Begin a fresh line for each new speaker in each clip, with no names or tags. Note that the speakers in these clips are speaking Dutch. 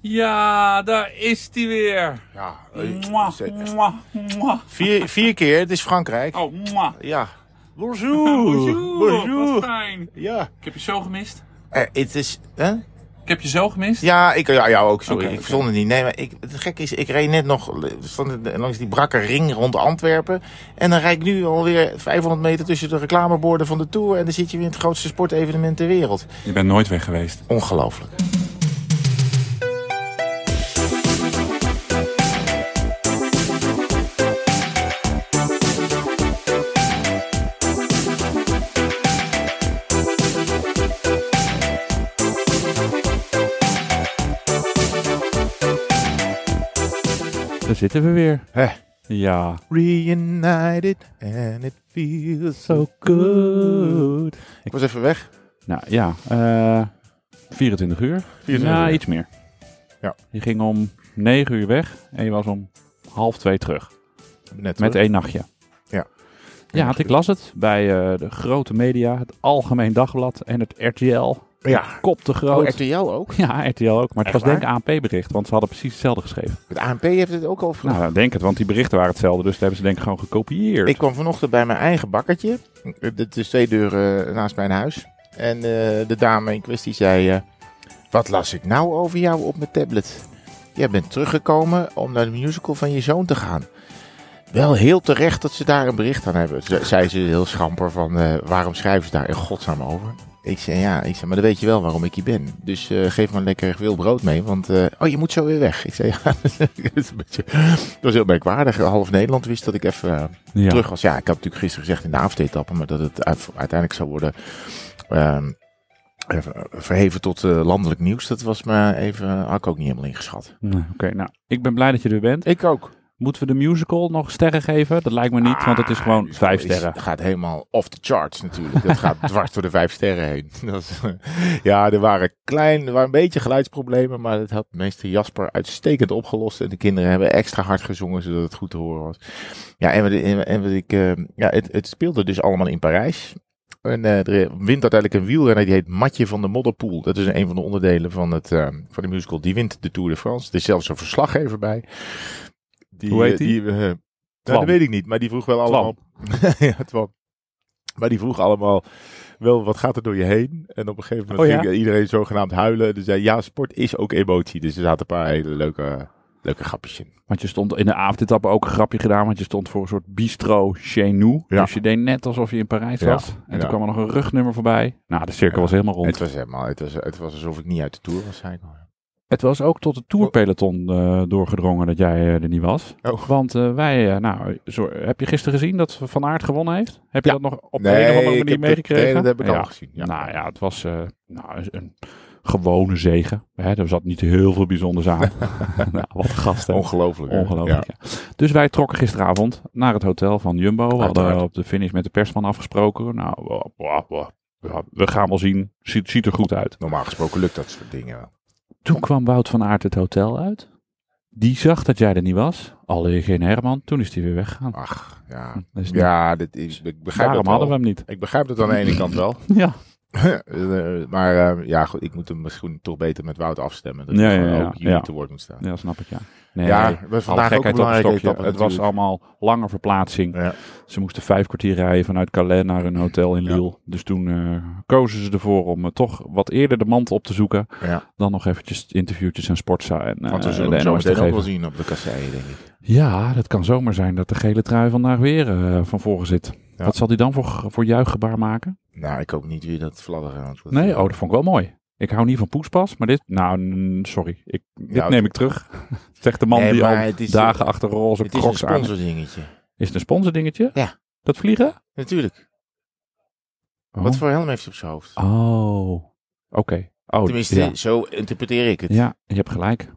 Ja, daar is hij weer.
Ja,
Mwah, mwah, mwah.
vier, vier keer, het is Frankrijk.
Oh, mwah.
Ja.
Bonjour,
Bonjour.
Wat fijn.
Ja.
Ik heb je zo gemist.
Eh, Het is... hè?
Ik heb je zo gemist.
Ja, ik, ja, jou ook, sorry.
Oké,
ik
oké.
verzon het niet. Nee, maar ik, het gekke is, ik reed net nog eh, stond er langs die brakke ring rond Antwerpen. En dan rijd ik nu alweer 500 meter tussen de reclameborden van de Tour. En dan zit je weer in het grootste sportevenement ter wereld.
Je bent nooit weg geweest.
Ongelooflijk.
Daar zitten we weer.
Hè.
Ja.
Reunited and it feels so Oh, good.
good.
Ik was even weg.
Nou ja, eh, 24 uur.
24
nou,
uur.
iets meer.
Ja.
Je ging om 9 uur weg en je was om half 2 terug.
Net
Met
hoor.
één nachtje.
Ja.
Ja, want ik las het bij eh, de grote media, het Algemeen Dagblad en het RTL.
Ja.
Kop te groot.
Oh, RTL ook?
Ja, RTL ook. Maar het was
Echt
denk ik
waar?
ANP-bericht, want ze hadden precies hetzelfde geschreven.
Het ANP heeft het ook al
Nou,
gevraagd.
dan denk het, want die berichten waren hetzelfde, dus dat hebben ze denk ik gewoon gekopieëerd.
Ik kwam vanochtend bij mijn eigen bakkertje. Het is twee deuren eh, naast mijn huis. En eh, de dame in kwestie zei: eh, Wat las ik nou over jou op mijn tablet? Jij bent teruggekomen om naar de musical van je zoon te gaan. Wel heel terecht dat ze daar een bericht aan hebben. Ze- Zei ze heel schamper van eh, waarom schrijven ze daar in godsnaam over? Ik zei ja, ik zei, maar dan weet je wel waarom ik hier ben. Dus eh, geef maar lekker veel brood mee, want eh, oh je moet zo weer weg. Ik zei ja, dat is een beetje, dat was heel merkwaardig. Half Nederland wist dat ik even eh,
ja.
terug was. Ja, ik had natuurlijk gisteren gezegd in de avondetappen, maar dat het uit- uiteindelijk zou worden ehm, even verheven tot eh, landelijk nieuws. Dat was me even, had ik ook niet helemaal ingeschat.
Nee, Oké, nou, ik ben blij dat je er bent.
Ik ook.
Moeten we de musical nog sterren geven? Dat lijkt me niet, want het
Ah,
is gewoon vijf sterren.
Het gaat helemaal off the charts natuurlijk. Dat gaat dwars door de vijf sterren heen. Dat is, eh, ja, er waren klein, er waren een beetje geluidsproblemen, maar dat had meester Jasper uitstekend opgelost. En de kinderen hebben extra hard gezongen, zodat het goed te horen was. Ja, en, wat, en, en wat ik, eh, ja, het, het speelde dus allemaal in Parijs. En eh, er wint uiteindelijk een wielrenner, die heet Matje van de Modderpoel. Dat is een van de onderdelen van, het, eh, van de musical. Die wint de Tour de France. Er is zelfs een verslaggever bij. Die,
Hoe heet
eh,
die?
eh, nou,
Twan.
dat weet ik niet, maar die vroeg wel
Twan.
allemaal... ja, Twan. Maar die vroeg allemaal wel, wat gaat er door je heen? En op een gegeven moment
Oh ja?
ging iedereen zogenaamd huilen. En die zei, ja, sport is ook emotie. Dus er zaten een paar hele leuke, leuke grapjes in.
Want je stond in de avondetappe ook een grapje gedaan, want je stond voor een soort bistro chez nous.
Ja.
Dus je deed net alsof je in Parijs
Ja,
was. En
ja.
toen kwam er nog een rugnummer voorbij. Nou, de cirkel
Ja.
was helemaal rond.
Het
Het,
was, helemaal, het, was, het was alsof ik niet uit de Tour was, zei ik al.
was ook tot het tourpeloton eh, doorgedrongen dat jij eh, er niet was.
Oh.
Want eh, wij, eh, nou, zo, heb je gisteren gezien dat Van Aert gewonnen heeft? Heb je
Ja.
dat nog op
Nee,
een of andere manier
ik heb dat-
meegekregen?
nee, dat heb ik
Ja.
al gezien, ja.
Nou ja, het was eh, nou, een gewone zegen. Hè, er zat niet heel veel bijzonders aan. nou, wat een gast, hè?
Ongelooflijk. hè?
Ongelooflijk. ja. Dus wij trokken gisteravond naar het hotel van Jumbo. We hadden
Uiteraard.
op de finish met de persman afgesproken. Nou, wa- wa- wa- ja, we gaan wel zien. Ziet, ziet er goed uit.
Normaal gesproken lukt dat soort dingen wel.
Toen kwam Wout van Aert het hotel uit. Die zag dat jij er niet was. Alweer geen Herman. Toen is hij weer weggegaan.
Ach, ja.
Dus
Ja, dit is, ik begrijp
daarom
dat
hadden
wel.
we hem niet.
Ik begrijp dat aan de ene kant wel.
Ja.
Eh, maar eh, ja, goed, ik moet hem misschien toch beter met Woud afstemmen. Dat
Ja,
hij
ja,
gewoon
ja,
ook jullie
ja.
te woord moet staan.
ja, snap ik ja. Nee,
ja,
nee.
we hebben
Alle
vandaag ook een
gekheid op een
belangrijke
stokje.
etappe
Het was
natuurlijk.
allemaal lange verplaatsing.
Ja.
Ze moesten vijf kwartier rijden vanuit Calais naar een hotel in
Ja.
Lille. Dus toen eh, kozen ze ervoor om eh, toch wat eerder de mand op te zoeken.
Ja.
Dan nog eventjes interviewtjes en sportza en eh,
Want we zullen
de
hem zo
NOS te
meteen ook wel
geven.
zien op de kassei, denk ik.
Ja, dat kan zomaar zijn dat de gele trui vandaag weer eh, van voren zit.
Ja.
Wat zal hij dan voor, voor juichgebaar maken?
Nou, ik hoop niet weer dat fladderen. Want dat- eh,
Nee, oh, dat vond ik wel mooi. Ik hou niet van poespas, maar dit... Nou, mm, sorry. Ik, dit
Ja,
neem ik terug. Zegt de man
Nee,
die
maar
al
het is- eh,
dagen achter roze
Het is een
crocs aan...
sponsordingetje.
Is het een sponsordingetje?
Ja.
Dat vliegen?
Natuurlijk. Wat voor helm heeft hij op zijn hoofd?
Oh, oké. Oh,
Tenminste,
ja.
zo interpreteer ik het.
ja, je hebt gelijk.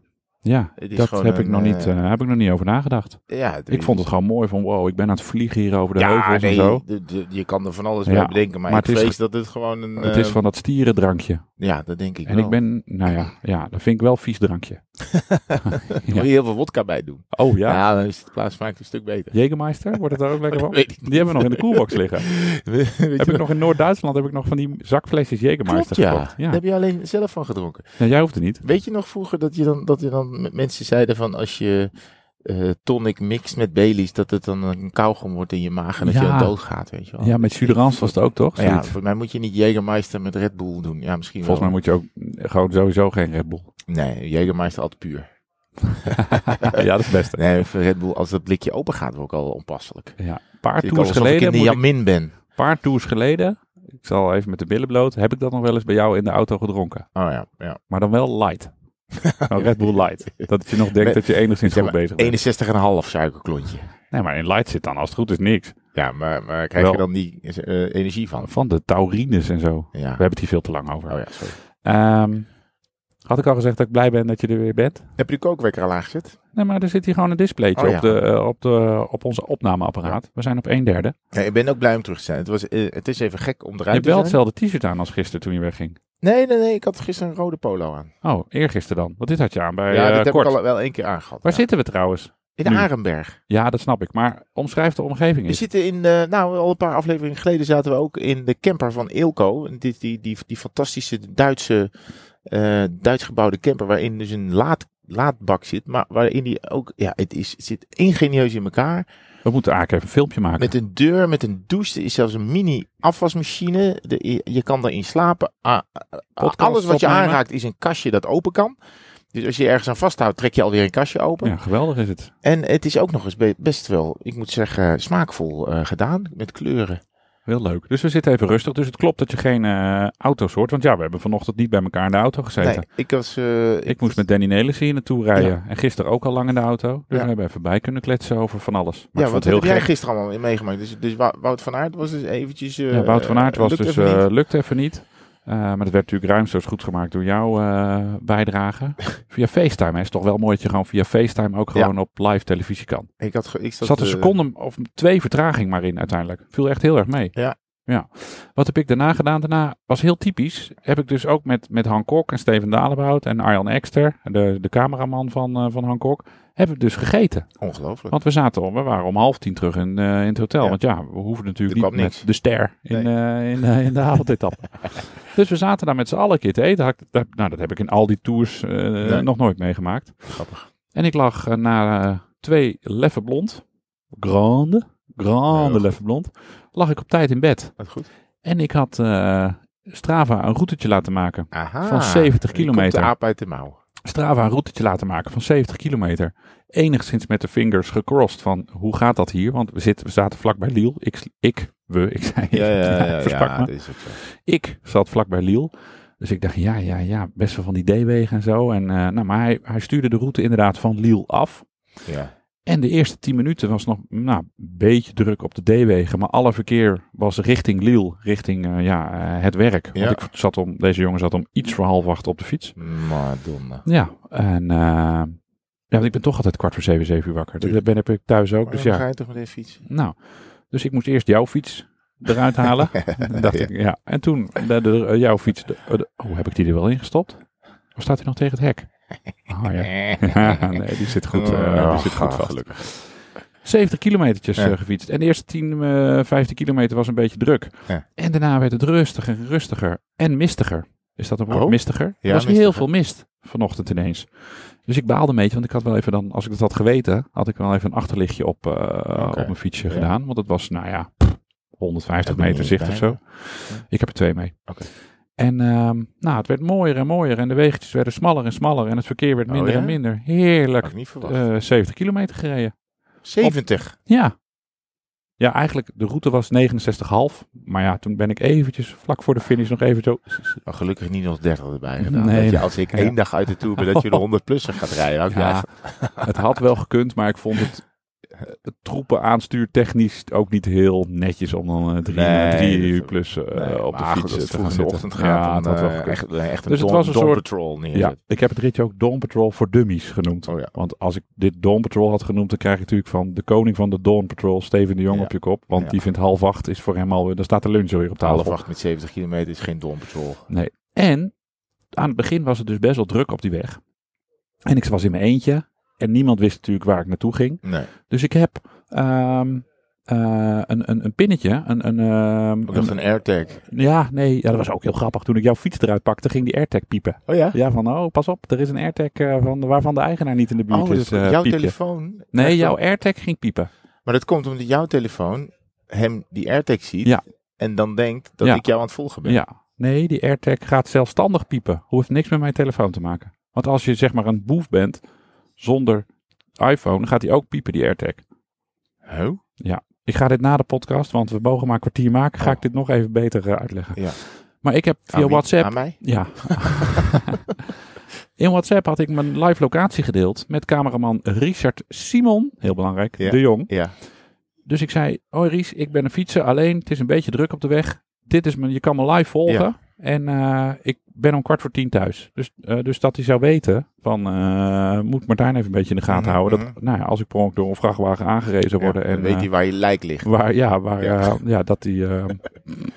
Ja,
Het is
dat
gewoon
heb, ik
een,
nog niet,
eh,
eh, heb ik nog niet over nagedacht.
ja,
Ik vond het gewoon mooi van wow, ik ben aan het vliegen hier over de
ja,
heuvels
nee,
en zo.
de- de- je kan er van alles
Ja,
bij bedenken, maar,
maar
ik
het is-
vrees dat het gewoon een...
Het is
eh,
van dat stierendrankje.
Ja, dat denk ik
En
wel.
ik ben, nou ja, ja, dat vind ik wel vies drankje.
Daar moet je heel veel wodka bij doen.
Oh
Ja,
ja.
dan is het plaats smaakt een stuk beter.
Jägermeister, wordt het daar ook lekker van?
Weet ik
Die hebben we nog in de koelbox liggen.
Weet je
heb ik
wel?
nog in Noord-Duitsland heb ik nog van die zakflesjes Jägermeister
Klopt, ja.
gekocht. Ja.
Daar heb je alleen zelf van gedronken.
Ja, jij hoeft het niet.
Weet je nog vroeger dat je dan, dat je dan met mensen zeiden van als je eh, tonic mixt met Baileys, dat het dan een kauwgom wordt in je maag en dat je
Ja.
dan doodgaat, weet je wel.
Ja, met Suderans was het ook, toch?
Maar ja,
Zoiets.
voor mij moet je niet Jägermeister met Red Bull doen. Ja, misschien
Volgens mij moet je ook gewoon sowieso geen Red Bull.
moet... Nee, Jägermeister altijd puur.
ja, dat is het beste.
Nee, voor Red Bull, als dat blikje open gaat, word ik al onpasselijk.
Ja, een paar
Ik al
tours
alsof ik in
geleden,
de
moet ik,
Jamin ben.
paar tours geleden, ik zal even met de billen bloot, heb ik dat nog wel eens bij jou in de auto gedronken.
Oh ja, ja.
Maar dan wel light. Nou, Red Bull light. Dat je nog denkt dat je enigszins
Zeg
goed bezig bent.
61,5 suikerklontje.
Nee, maar in light zit dan als het goed is niks.
Ja, maar, maar krijg
Wel.
je dan die eh, energie van?
Van de taurines en zo.
Ja.
We hebben het hier veel te lang over.
Oh ja, sorry.
Ehm, had ik al gezegd dat ik blij ben dat je er weer bent?
Heb je de kookwekker al aangezet?
Nee, maar er zit hier gewoon een displaytje
Oh, ja.
op, de, eh, op, de, op onze opnameapparaat. We zijn op een derde.
Nee, ik ben ook blij om terug te zijn. Het, was, eh, het is even gek om
Je
eruit
hebt
te
wel
zijn.
hetzelfde t-shirt aan als gisteren toen je wegging.
Nee, nee, nee. Ik had gisteren een rode polo aan.
Oh, eergisteren dan. Want dit had je aan bij
ja,
eh,
dat heb
Kort.
ik al wel één keer aangehad.
Waar
ja.
zitten we trouwens?
In
nu?
Arenberg.
Ja, dat snap ik. Maar omschrijf de omgeving
We
eens.
zitten in, eh, nou, al een paar afleveringen geleden zaten we ook in de camper van Eelco. En Dit, die, die, die fantastische Duitse, eh, Duits gebouwde camper waarin dus een laad, laadbak zit. Maar waarin die ook, ja, het, is, het zit ingenieus in elkaar.
We moeten eigenlijk even een filmpje maken.
Met een deur, met een douche. Er is zelfs een mini afwasmachine. De, je- je kan daarin slapen. Ah, ah,
Podcast
alles wat je
opnemen.
aanraakt is een kastje dat open kan. Dus als je ergens aan vasthoudt, trek je alweer een kastje open.
Ja, geweldig is het.
En het is ook nog eens be- best wel, ik moet zeggen, smaakvol eh, gedaan. Met kleuren.
Heel leuk. Dus we zitten even rustig. Dus het klopt dat je geen eh, auto's hoort. Want ja, we hebben vanochtend niet bij elkaar in de auto gezeten.
Nee, ik was... eh,
Ik moest met Danny Nelissen hier naartoe rijden.
Ja.
En gisteren ook al lang in de auto. Dus
Ja.
we hebben even bij kunnen kletsen over van alles. Maar
Ja,
ik vond
wat
het
heb
heel
jij
gek.
gisteren allemaal meegemaakt? Dus, dus Wou- Wout van Aert was dus eventjes... eh,
ja, Wout van Aert
eh,
was
lukt
dus,
even niet.
eh, lukt even niet. Eh, maar het werd natuurlijk ruimstoots goed gemaakt door jouw eh, bijdrage. Via FaceTime hè. is toch wel mooi dat je gewoon via FaceTime ook
Ja.
gewoon op live televisie kan.
ik had, ge- ik
Er zat een
eh,
seconde of twee vertraging maar in uiteindelijk. Viel echt heel erg mee.
Ja.
ja. Wat heb ik daarna gedaan? Daarna was heel typisch. Heb ik dus ook met, met Hank Kok en Steven Dalenboud en Arjan Ekster, de, de cameraman van, eh, van Hank Kok, heb ik dus gegeten.
Ongelooflijk.
Want we zaten om, we waren om half tien terug in, eh, in het hotel.
Ja.
Want ja, we hoeven natuurlijk niet
Er kwam
met
niks.
de ster in, eh, in, eh, in de avondetappe. dus we zaten daar met z'n allen een keer te eten. Had ik- dat- nou, dat heb ik in al die tours eh, nog nooit meegemaakt.
Grappig.
En ik lag eh, na eh, twee leffe blond, grande,
Heel
grande
goed.
leffe blond, lag ik op tijd in bed.
Dat goed.
En ik had eh, Strava een routetje laten maken.
Aha.
Van 70
hier komt
kilometer.
de aap uit de mouw.
Strava een routetje laten maken van 70 kilometer. Enigszins met de vingers gecrossed van hoe gaat dat hier? Want we, zitten, we zaten vlak bij Liel. Ik, sl- ik, we, ik zei
Ja, ja, ja.
versprak
ja,
me.
dat is ook zo.
Ik zat vlak bij Liel. Dus ik dacht, ja, ja, ja, best wel van die D-wegen en zo. En, eh, nou, maar hij, hij stuurde de route inderdaad van Liel af.
Ja.
En de eerste 10 minuten was nog nou, een beetje druk op de D-wegen. Maar alle verkeer was richting Liel, richting eh, ja, eh, het werk.
Ja.
Want ik zat om, deze jongen zat om iets voor half acht op de fiets.
Madonna.
Ja, en eh, ja, want ik ben toch altijd kwart voor zeven, zeven uur wakker. Dus dat
Tuurlijk.
ben heb ik thuis ook.
Dus
Dus
ga
ja,
je toch met even fietsen?
nou, dus ik moest eerst jouw fiets eruit halen. En dacht
Ja.
ik, ja. En toen de, de- eh, jouw fiets. de- eh, de- oh, heb ik die er wel in gestopt? Of staat hij nog tegen het hek? Oh ja. Ja, nee, die zit goed, eh,
Oh,
die zit goed
ah,
vast. 70 kilometertjes
Ja.
eh, gefietst. En de eerste 10, eh 15 kilometer was een beetje druk.
Ja.
En daarna werd het rustiger en rustiger. En mistiger. Is dat een woord?
Oh?
Mistiger? er was
Ja,
heel
mistiger.
veel mist vanochtend ineens. Dus ik baalde een beetje, want ik had wel even dan, als ik dat had geweten, had ik wel even een achterlichtje op, eh, op mijn fietsje
Ja.
gedaan. Want het was, nou ja, pff, 150
Heb je
meter
niet
zicht
bij
of zo.
me?
Ik heb er twee mee.
Oké.
En ehm, nou, het werd mooier en mooier. En de wegentjes werden smaller en smaller. En het verkeer werd
Oh,
minder
ja?
en minder. Heerlijk.
Had Oh, ik niet verwacht.
eh 70 kilometer gereden.
70.
Ja. Ja, eigenlijk de route was 69,5. Maar ja, toen ben ik eventjes vlak voor de finish nog even zo...
Maar gelukkig niet nog 30 erbij gedaan.
Nee.
dat je, als ik
Ja.
één dag uit de tour ben, dat je de 100 plusser gaat rijden. had ik eh,
Ja,
eigenlijk-
het had wel gekund, maar ik vond het, eh, het troepen aanstuurtechnisch ook niet heel netjes om dan eh, drie,
Nee,
drie
dat-
uur plus eh,
Nee,
op de
maar goed,
fiets
als
eh,
het
te gaan
vroeg in de
zitten.
ochtend
ja,
gaat,
het
dan
had wel
eh,
gekund.
echt, echt een
Dus het
Dawn-
was een
Dawn
soort-
Patrol
Ja,
neerzet.
ik heb het ritje ook Dawn Patrol voor dummies genoemd.
Oh ja.
Want als ik dit Dawn Patrol had genoemd, dan krijg ik natuurlijk van de koning van de Dawn Patrol, Steven de Jong,
Ja.
op je kop. Want
Ja.
die vindt half acht is voor hem alweer, dan staat de lunch alweer op tafel.
Half acht met 70 kilometer is geen Dawn Patrol.
En aan het begin was het dus best wel druk op die weg. En ik was in mijn eentje. En niemand wist natuurlijk waar ik naartoe ging.
Nee.
Dus ik heb ehm, eh, een, een, een pinnetje. Een, een, ehm,
Ik dacht
een-
een AirTag.
ja, nee, ja, dat was ook heel grappig. Toen ik jouw fiets eruit pakte, ging die AirTag piepen.
Oh ja?
Ja, van oh, pas op, er is een AirTag eh, van, waarvan de eigenaar niet in de buurt
Oh,
is.
dus
eh,
jouw
piepje.
telefoon.
Nee, jouw AirTag ging piepen.
Maar dat komt omdat jouw telefoon hem die AirTag ziet.
Ja.
En dan denkt dat
Ja.
ik jou aan het volgen ben.
Ja. Nee, die AirTag gaat zelfstandig piepen. Hoeft niks met mijn telefoon te maken. Want als je zeg maar een boef bent zonder iPhone, gaat die ook piepen, die AirTag.
Huh?
Ik ga dit na de podcast, want we mogen maar een kwartier maken. Ga
Oh.
ik dit nog even beter eh, uitleggen.
Ja.
Maar ik heb
Aan
via
wie?
WhatsApp...
Aan mij?
Ja. In WhatsApp had ik mijn live locatie gedeeld met cameraman Richard Simon, heel belangrijk,
Ja.
de jong.
Ja.
Dus ik zei, hoi Ries, ik ben een fietser, alleen het is een beetje druk op de weg. Dit is mijn, je kan me live volgen.
Ja.
En eh, ik ben om kwart voor tien thuis. Dus, eh, dus dat hij zou weten van, eh, moet Martijn even een beetje in de gaten
Mhm,
houden. Dat,
mhm.
nou ja, als ik per ongeluk door een vrachtwagen aangerezen word.
Ja,
en,
dan weet
eh,
hij waar je lijk ligt.
Waar, ja, waar,
Ja.
ja. ja, dat hij eh,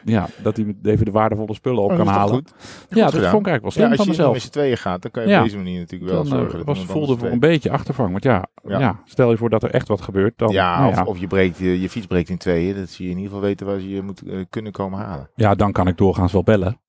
ja, dat hij even de waardevolle spullen op
Oh,
kan
dat is toch
halen.
goed?
Ja, dat
gedaan.
vond ik eigenlijk wel
Ja,
slim
als
van
je
mezelf.
met z'n tweeën gaat, dan kan je
Ja.
op deze manier natuurlijk wel
Dan eh,
zorgen. dat
was,
iemand
voelde
anders
voor
het
een beetje achtervang. Want ja,
Ja.
ja. stel je voor dat er echt wat gebeurt. Dan,
weet. Ja,
nou
of,
ja,
of je, breekt, eh, je, je fiets breekt in tweeën. Dat ze je in ieder geval weten waar ze je moet eh, kunnen komen halen.
ja, dan kan ik doorgaans wel bellen.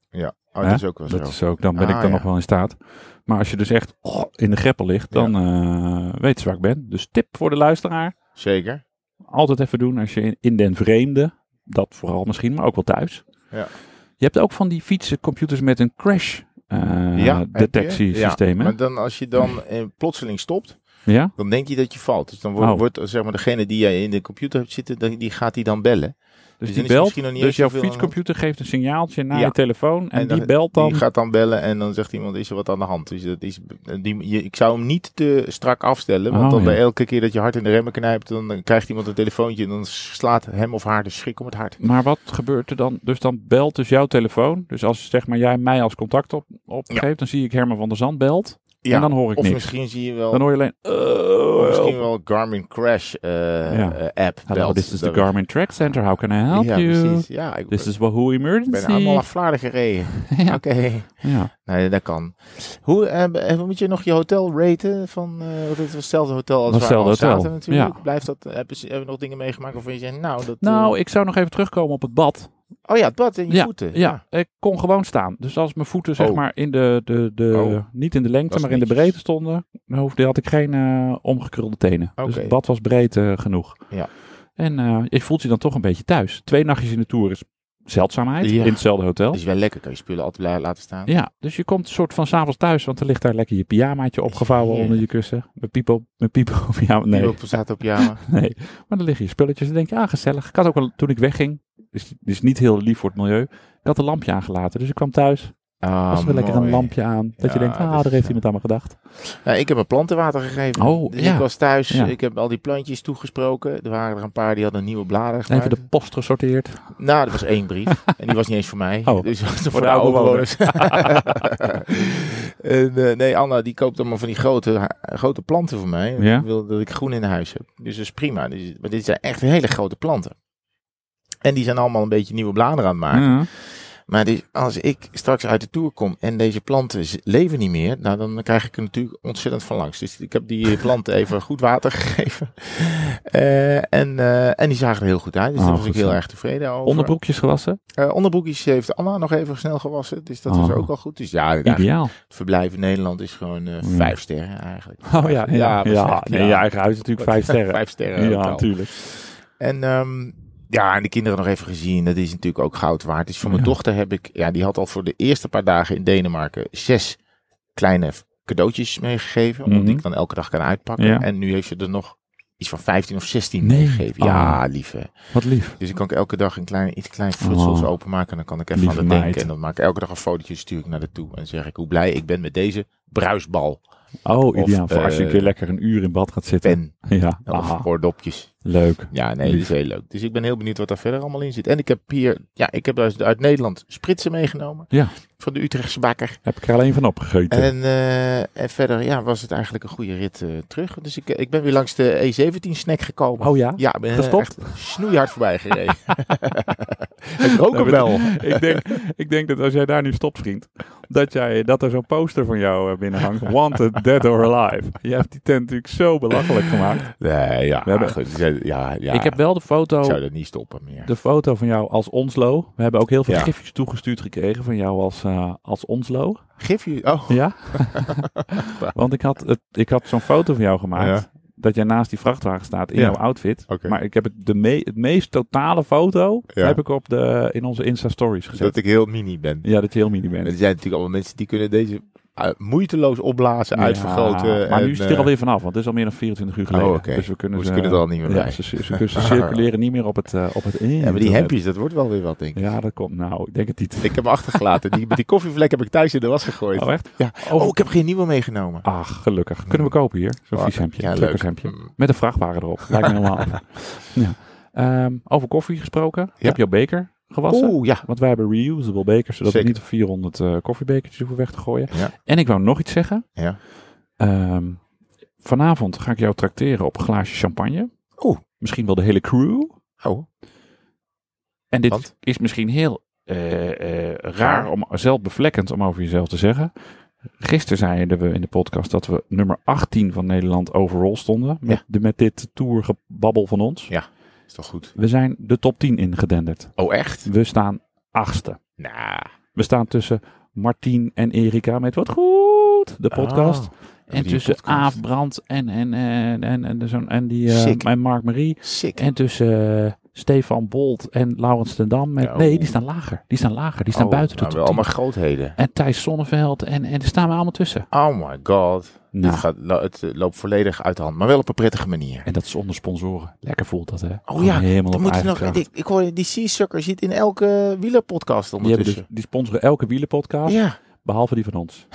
Oh,
Hè?
dat is ook wel zo.
Dat is ook, dan ben
Ah,
ik dan
ja.
nog wel in staat. Maar als je dus echt oh, in de greppel ligt, dan eh weet ze waar ik ben. Dus tip voor de luisteraar.
Zeker.
Altijd even doen als je in, in den vreemde, dat vooral misschien, maar ook wel thuis.
Ja.
Je hebt ook van die fietsencomputers met een crash eh
ja, heb je?
detectiesysteem.
Ja,
hè?
maar dan als je dan eh, plotseling stopt,
Ja?
dan denk je dat je valt. Dus dan wordt,
Oh.
wordt, zeg maar degene die jij in de computer hebt zitten, dan- die gaat die dan bellen.
Dus,
dan
die
is er
belt,
misschien nog niet
dus
eens
jouw
zoveel aan de hand.
fietscomputer geeft een signaaltje naar
Ja.
je telefoon en,
En
die
dan-
belt dan.
Die gaat dan bellen en dan zegt iemand, is er wat aan de hand? Dus dat is, die, je, ik zou hem niet te strak afstellen, want
Oh,
dan
ja.
bij elke keer dat je hard in de remmen knijpt, dan eh, krijgt iemand een telefoontje en dan slaat hem of haar de schrik om het hart.
Maar wat gebeurt er dan? Dus dan belt dus jouw telefoon. Dus als zeg maar, jij mij als contact op, opgeeft, dan zie ik Herman van der Zand belt.
Ja,
en dan hoor ik
of
niks.
misschien zie je wel,
Dan hoor je alleen...
of
eh
misschien wel Garmin Crash eh,
Ja.
eh, app
Hello,
belt.
this is the
Dan-
Garmin Track Center. How can I help
ja,
you?
precies. Ja, ik
This is Wahoo
ik ben
Emergency.
allemaal naar Vlaarden gereden.
Ja.
Oké.
Ja.
Nee, dat kan. Hoe eh, eh, moet je nog je hotel raten? Van, eh, want het was hetzelfde hotel als
Dat
waar we al
hetzelfde hotel,
zaten natuurlijk.
ja.
Blijft dat, hebben ze hebben we nog dingen meegemaakt waarvan je zegt, nou, dat...
Nou, ik zou nog even terugkomen op het bad.
eh, oh ja, het bad en je voeten.
Ja, ik kon gewoon staan. Dus als mijn voeten zeg
Oh.
maar in de, de, de
Oh.
niet in de
Dat
lengte,
is
maar in de
netjes.
breedte stonden, dan hoefde, had ik geen eh, omgekrulde tenen. Dus
Oké.
het bad was breed eh, genoeg.
Ja.
En eh, je voelt je dan toch een beetje thuis. Twee nachtjes in de tour is zeldzaamheid
Ja.
in hetzelfde hotel.
Dat is wel lekker, kan je spullen altijd la- laten staan.
Ja, dus je komt soort van s'avonds thuis, want er ligt daar lekker je pyjamaatje opgevouwen
Heerlijk.
onder je kussen. Mijn piepo, mijn piepo, pyjama,
Nee.
nee.
Die staat op jou.
Nee, maar dan liggen je spulletjes. Dan denk je, ah, gezellig. Ik had ook wel, toen ik wegging, dus, dus niet heel lief voor het milieu, ik had een lampje aangelaten. Dus ik kwam thuis,
Ah,
was er lekker een
mooi.
lampje aan. Dat
Ja,
je denkt, ah,
dat is
daar heeft
zo.
iemand aan me gedacht.
Nou, ik heb mijn planten water gegeven.
Oh,
dus
ja.
ik was thuis,
Ja.
ik heb al die plantjes toegesproken. Er waren er een paar die hadden nieuwe bladeren gemaakt.
Even de post gesorteerd.
Nou, dat was één brief. en die was niet eens voor mij.
Oh,
dus dat was voor,
de
de oude
oude
bewoners. En, eh, nee, Anna die koopt allemaal van die grote, ha- grote planten voor mij.
Ja.
Ik wil dat ik groen in huis heb. Dus dat is prima. Dus, maar dit zijn echt hele grote planten. En die zijn allemaal een beetje nieuwe bladeren aan het maken.
Ja.
Maar dus als ik straks uit de tour kom en deze planten z- leven niet meer, nou, dan krijg ik er natuurlijk ontzettend van langs. Dus ik heb die eh, planten even goed water gegeven. Eh, en, eh, en die zagen er heel goed uit. Dus
Oh,
daar was
goed
ik heel
zo.
erg tevreden over.
Onderbroekjes gewassen.
Eh, onderbroekjes heeft Anna nog even snel gewassen. Dus dat was
Oh.
ook al goed. Dus ja, eigenlijk,
Ideaal.
het verblijf in Nederland is gewoon eh,
Mm.
vijf sterren eigenlijk.
Oh ja, ja.
Ja,
ja,
dat is echt,
nee,
ja.
je eigen huis is natuurlijk vijf sterren.
Vijf sterren
Ja,
hotel.
natuurlijk.
En ehm, ja, en de kinderen nog even gezien. Dat is natuurlijk ook goud waard. Dus voor mijn
Ja.
dochter heb ik, ja, die had al voor de eerste paar dagen in Denemarken zes kleine cadeautjes meegegeven. Omdat
Mhm.
ik dan elke dag kan uitpakken.
Ja.
En nu heeft ze er nog iets van 15 of 16
Nee.
meegegeven. Ja, lieve.
Wat lief.
Dus ik kan ook elke dag een klein, iets klein frutsels
Oh.
openmaken. En dan kan ik even
Lieve
aan het denken.
meid.
En dan maak ik elke dag een fotootje stuur ik naar de toe. En zeg ik hoe blij ik ben met deze bruisbal,
Oh, ideaal.
Of,
voor als je een
eh,
keer lekker een uur in bad gaat zitten.
pen
Ja,
of
Aha,
oordopjes.
leuk.
Ja, nee, dat is heel leuk. Dus ik ben heel benieuwd wat daar verder allemaal in zit. En ik heb hier, ja, ik heb dus uit Nederland spritsen meegenomen.
Ja.
Van de Utrechtse bakker.
Heb ik er alleen van opgegeten.
En, eh, en verder, ja, was het eigenlijk een goede rit eh, terug. Dus ik, ik ben weer langs de E17 snack gekomen.
oh ja?
Ja, ik ben eh,
Gestopt?
echt snoeihard voorbij gereden. Ik rook hem wel.
ik, denk, ik denk dat als jij daar nu stopt, vriend, dat, jij, dat er zo'n poster van jou eh, binnen hangt. Wanted, dead or alive. Je hebt die tent natuurlijk zo belachelijk gemaakt.
Nee, ja.
We hebben-
goed, ja, ja, ja.
Ik heb wel de foto,
Ik zou dat niet stoppen meer.
de foto van jou als Onslo. We hebben ook heel veel
Ja.
gifjes toegestuurd gekregen van jou als, eh, als Onslo.
Gif je... Oh,
Ja? Want ik had, het, ik had zo'n foto van jou gemaakt. Dat jij naast die vrachtwagen staat in
Ja.
jouw outfit.
Oké.
Maar ik heb het, de me- het meest totale foto
Ja.
heb ik op de, in onze Insta-stories gezet.
dat ik heel mini ben.
Ja, dat je heel mini
En
bent.
er zijn natuurlijk allemaal mensen die kunnen deze eh, moeiteloos opblazen,
Ja,
uitvergroten.
Maar
en,
nu is het er
eh,
alweer vanaf, want het is al meer dan 24 uur geleden.
Oh, oké.
Dus we kunnen
Ze
ze,
kunnen er al niet meer
ja,
bij.
ze, ze, ze- ze circuleren niet meer op het, eh op het internet.
Ja, maar die hempjes, dat wordt wel weer wat, denk ik.
Ja, dat komt. Nou, ik denk het niet.
Ik heb hem achtergelaten. Die, die koffievlek heb ik thuis in de was gegooid.
Oh, echt?
Ja.
Oh,
Oh, ik heb geen nieuwe meegenomen.
Ach, gelukkig. Kunnen we kopen hier? Zo'n
Ah,
vies hemdje.
ja,
Een
leuk.
truckershemdje.
Mm.
Met een vrachtwagen erop. Lijkt me helemaal af. Ja. Ehm, over koffie gesproken. Ik Heb jouw beker gewassen?
Oeh, ja.
Want wij hebben reusable bekers, zodat
Zeker.
we niet 400 eh, koffiebekertjes hoeven weg te gooien.
Ja.
En ik wou nog iets zeggen.
Ja.
Ehm, vanavond ga ik jou tracteren op een glaasje champagne.
Oeh.
Misschien wel de hele crew.
Oh,
En dit
Want?
is misschien heel eh, eh, raar, om, zelfbevlekkend om over jezelf te zeggen. Gisteren zeiden we in de podcast dat we nummer 18 van Nederland overall stonden. Met,
Ja.
de, met dit tourgebabbel van ons.
Ja. is toch goed?
We zijn de top 10 ingedenderd.
Oh, echt?
We staan achtste.
Nou.
We staan tussen Martien en Erika met Wat Goed, de podcast.
Oh,
en
die
tussen
podcast.
Aaf Brandt en, en, en, en, en, zo'n- en, die, eh,
Sick.
en Mark Marie.
Sick.
En tussen eh, Stefan Bolt en Laurens ten Dam. Met,
Ja,
nee,
oeh.
die staan lager. Die staan lager. Die staan
Oh,
buiten de
nou,
top
wel
10.
allemaal grootheden.
En Thijs Sonneveld. En, en daar staan we allemaal tussen.
Oh my god.
Nou,
Dit gaat, lo- het eh, loopt volledig uit de hand, maar wel op een prettige manier.
en dat is zonder sponsoren. Lekker voelt dat, hè?
Oh ja,
helemaal
Dan
op
moet je
eigen
nog,
kracht.
ik, ik hoor die Seasucker zit in elke wielerpodcast
die, hebben dus,
ondertussen.
die sponsoren elke wielenpodcast,
Ja,
behalve die van ons.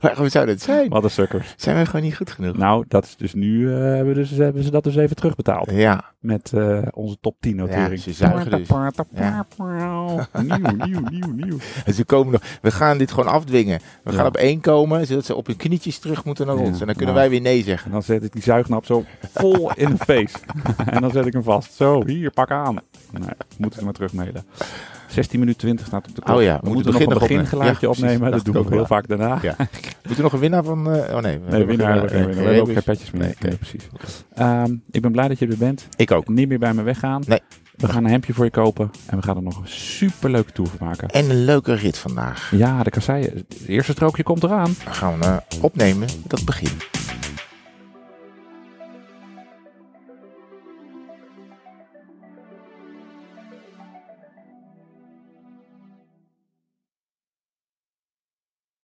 waarom zou dat zijn?
Wat een sukkers.
Zijn wij gewoon niet goed genoeg?
Nou, dat is dus nu eh, hebben, we dus, hebben ze dat dus even terugbetaald.
Ja,
Met eh, onze top 10 notering.
ja, ze zuigen dus. Ja.
Nieuw, nieuw, nieuw, nieuw.
En ze komen nog. We gaan dit gewoon afdwingen. We
Ja.
gaan op één komen, zodat ze op hun knietjes terug moeten naar
Ja,
ons. En dan kunnen
nou.
wij weer nee zeggen.
En dan zet ik die zuignap zo vol in het face. en dan zet ik hem vast. Zo, hier, pak aan. Nee, moeten ze maar terugmelen. 16 minuten 20 staat op de klok.
Oh ja, we
we
moeten
moeten nog
begin
een
nog opnemen.
begingeluidje
Ja, precies.
opnemen. Dat
Dacht
doen
ik
we
ook
heel
wel.
vaak daarna.
Ja. Moeten we nog een winnaar van. eh, oh nee, we
Nee,
hebben
winnaar,
geen
hebben we geen
eh,
winnaar. We hebben ook geen
Rebus.
petjes meer.
Nee,
Nee,
nee.
precies. Ehm, ik ben blij dat je er bent.
Ik ook.
Niet meer bij me weggaan.
Nee.
We gaan een hemdje voor je kopen. En we gaan er nog een superleuke tour van maken.
En een leuke rit vandaag.
Ja, de kasseien. Het eerste strookje komt eraan.
Dan gaan we eh, opnemen dat begin.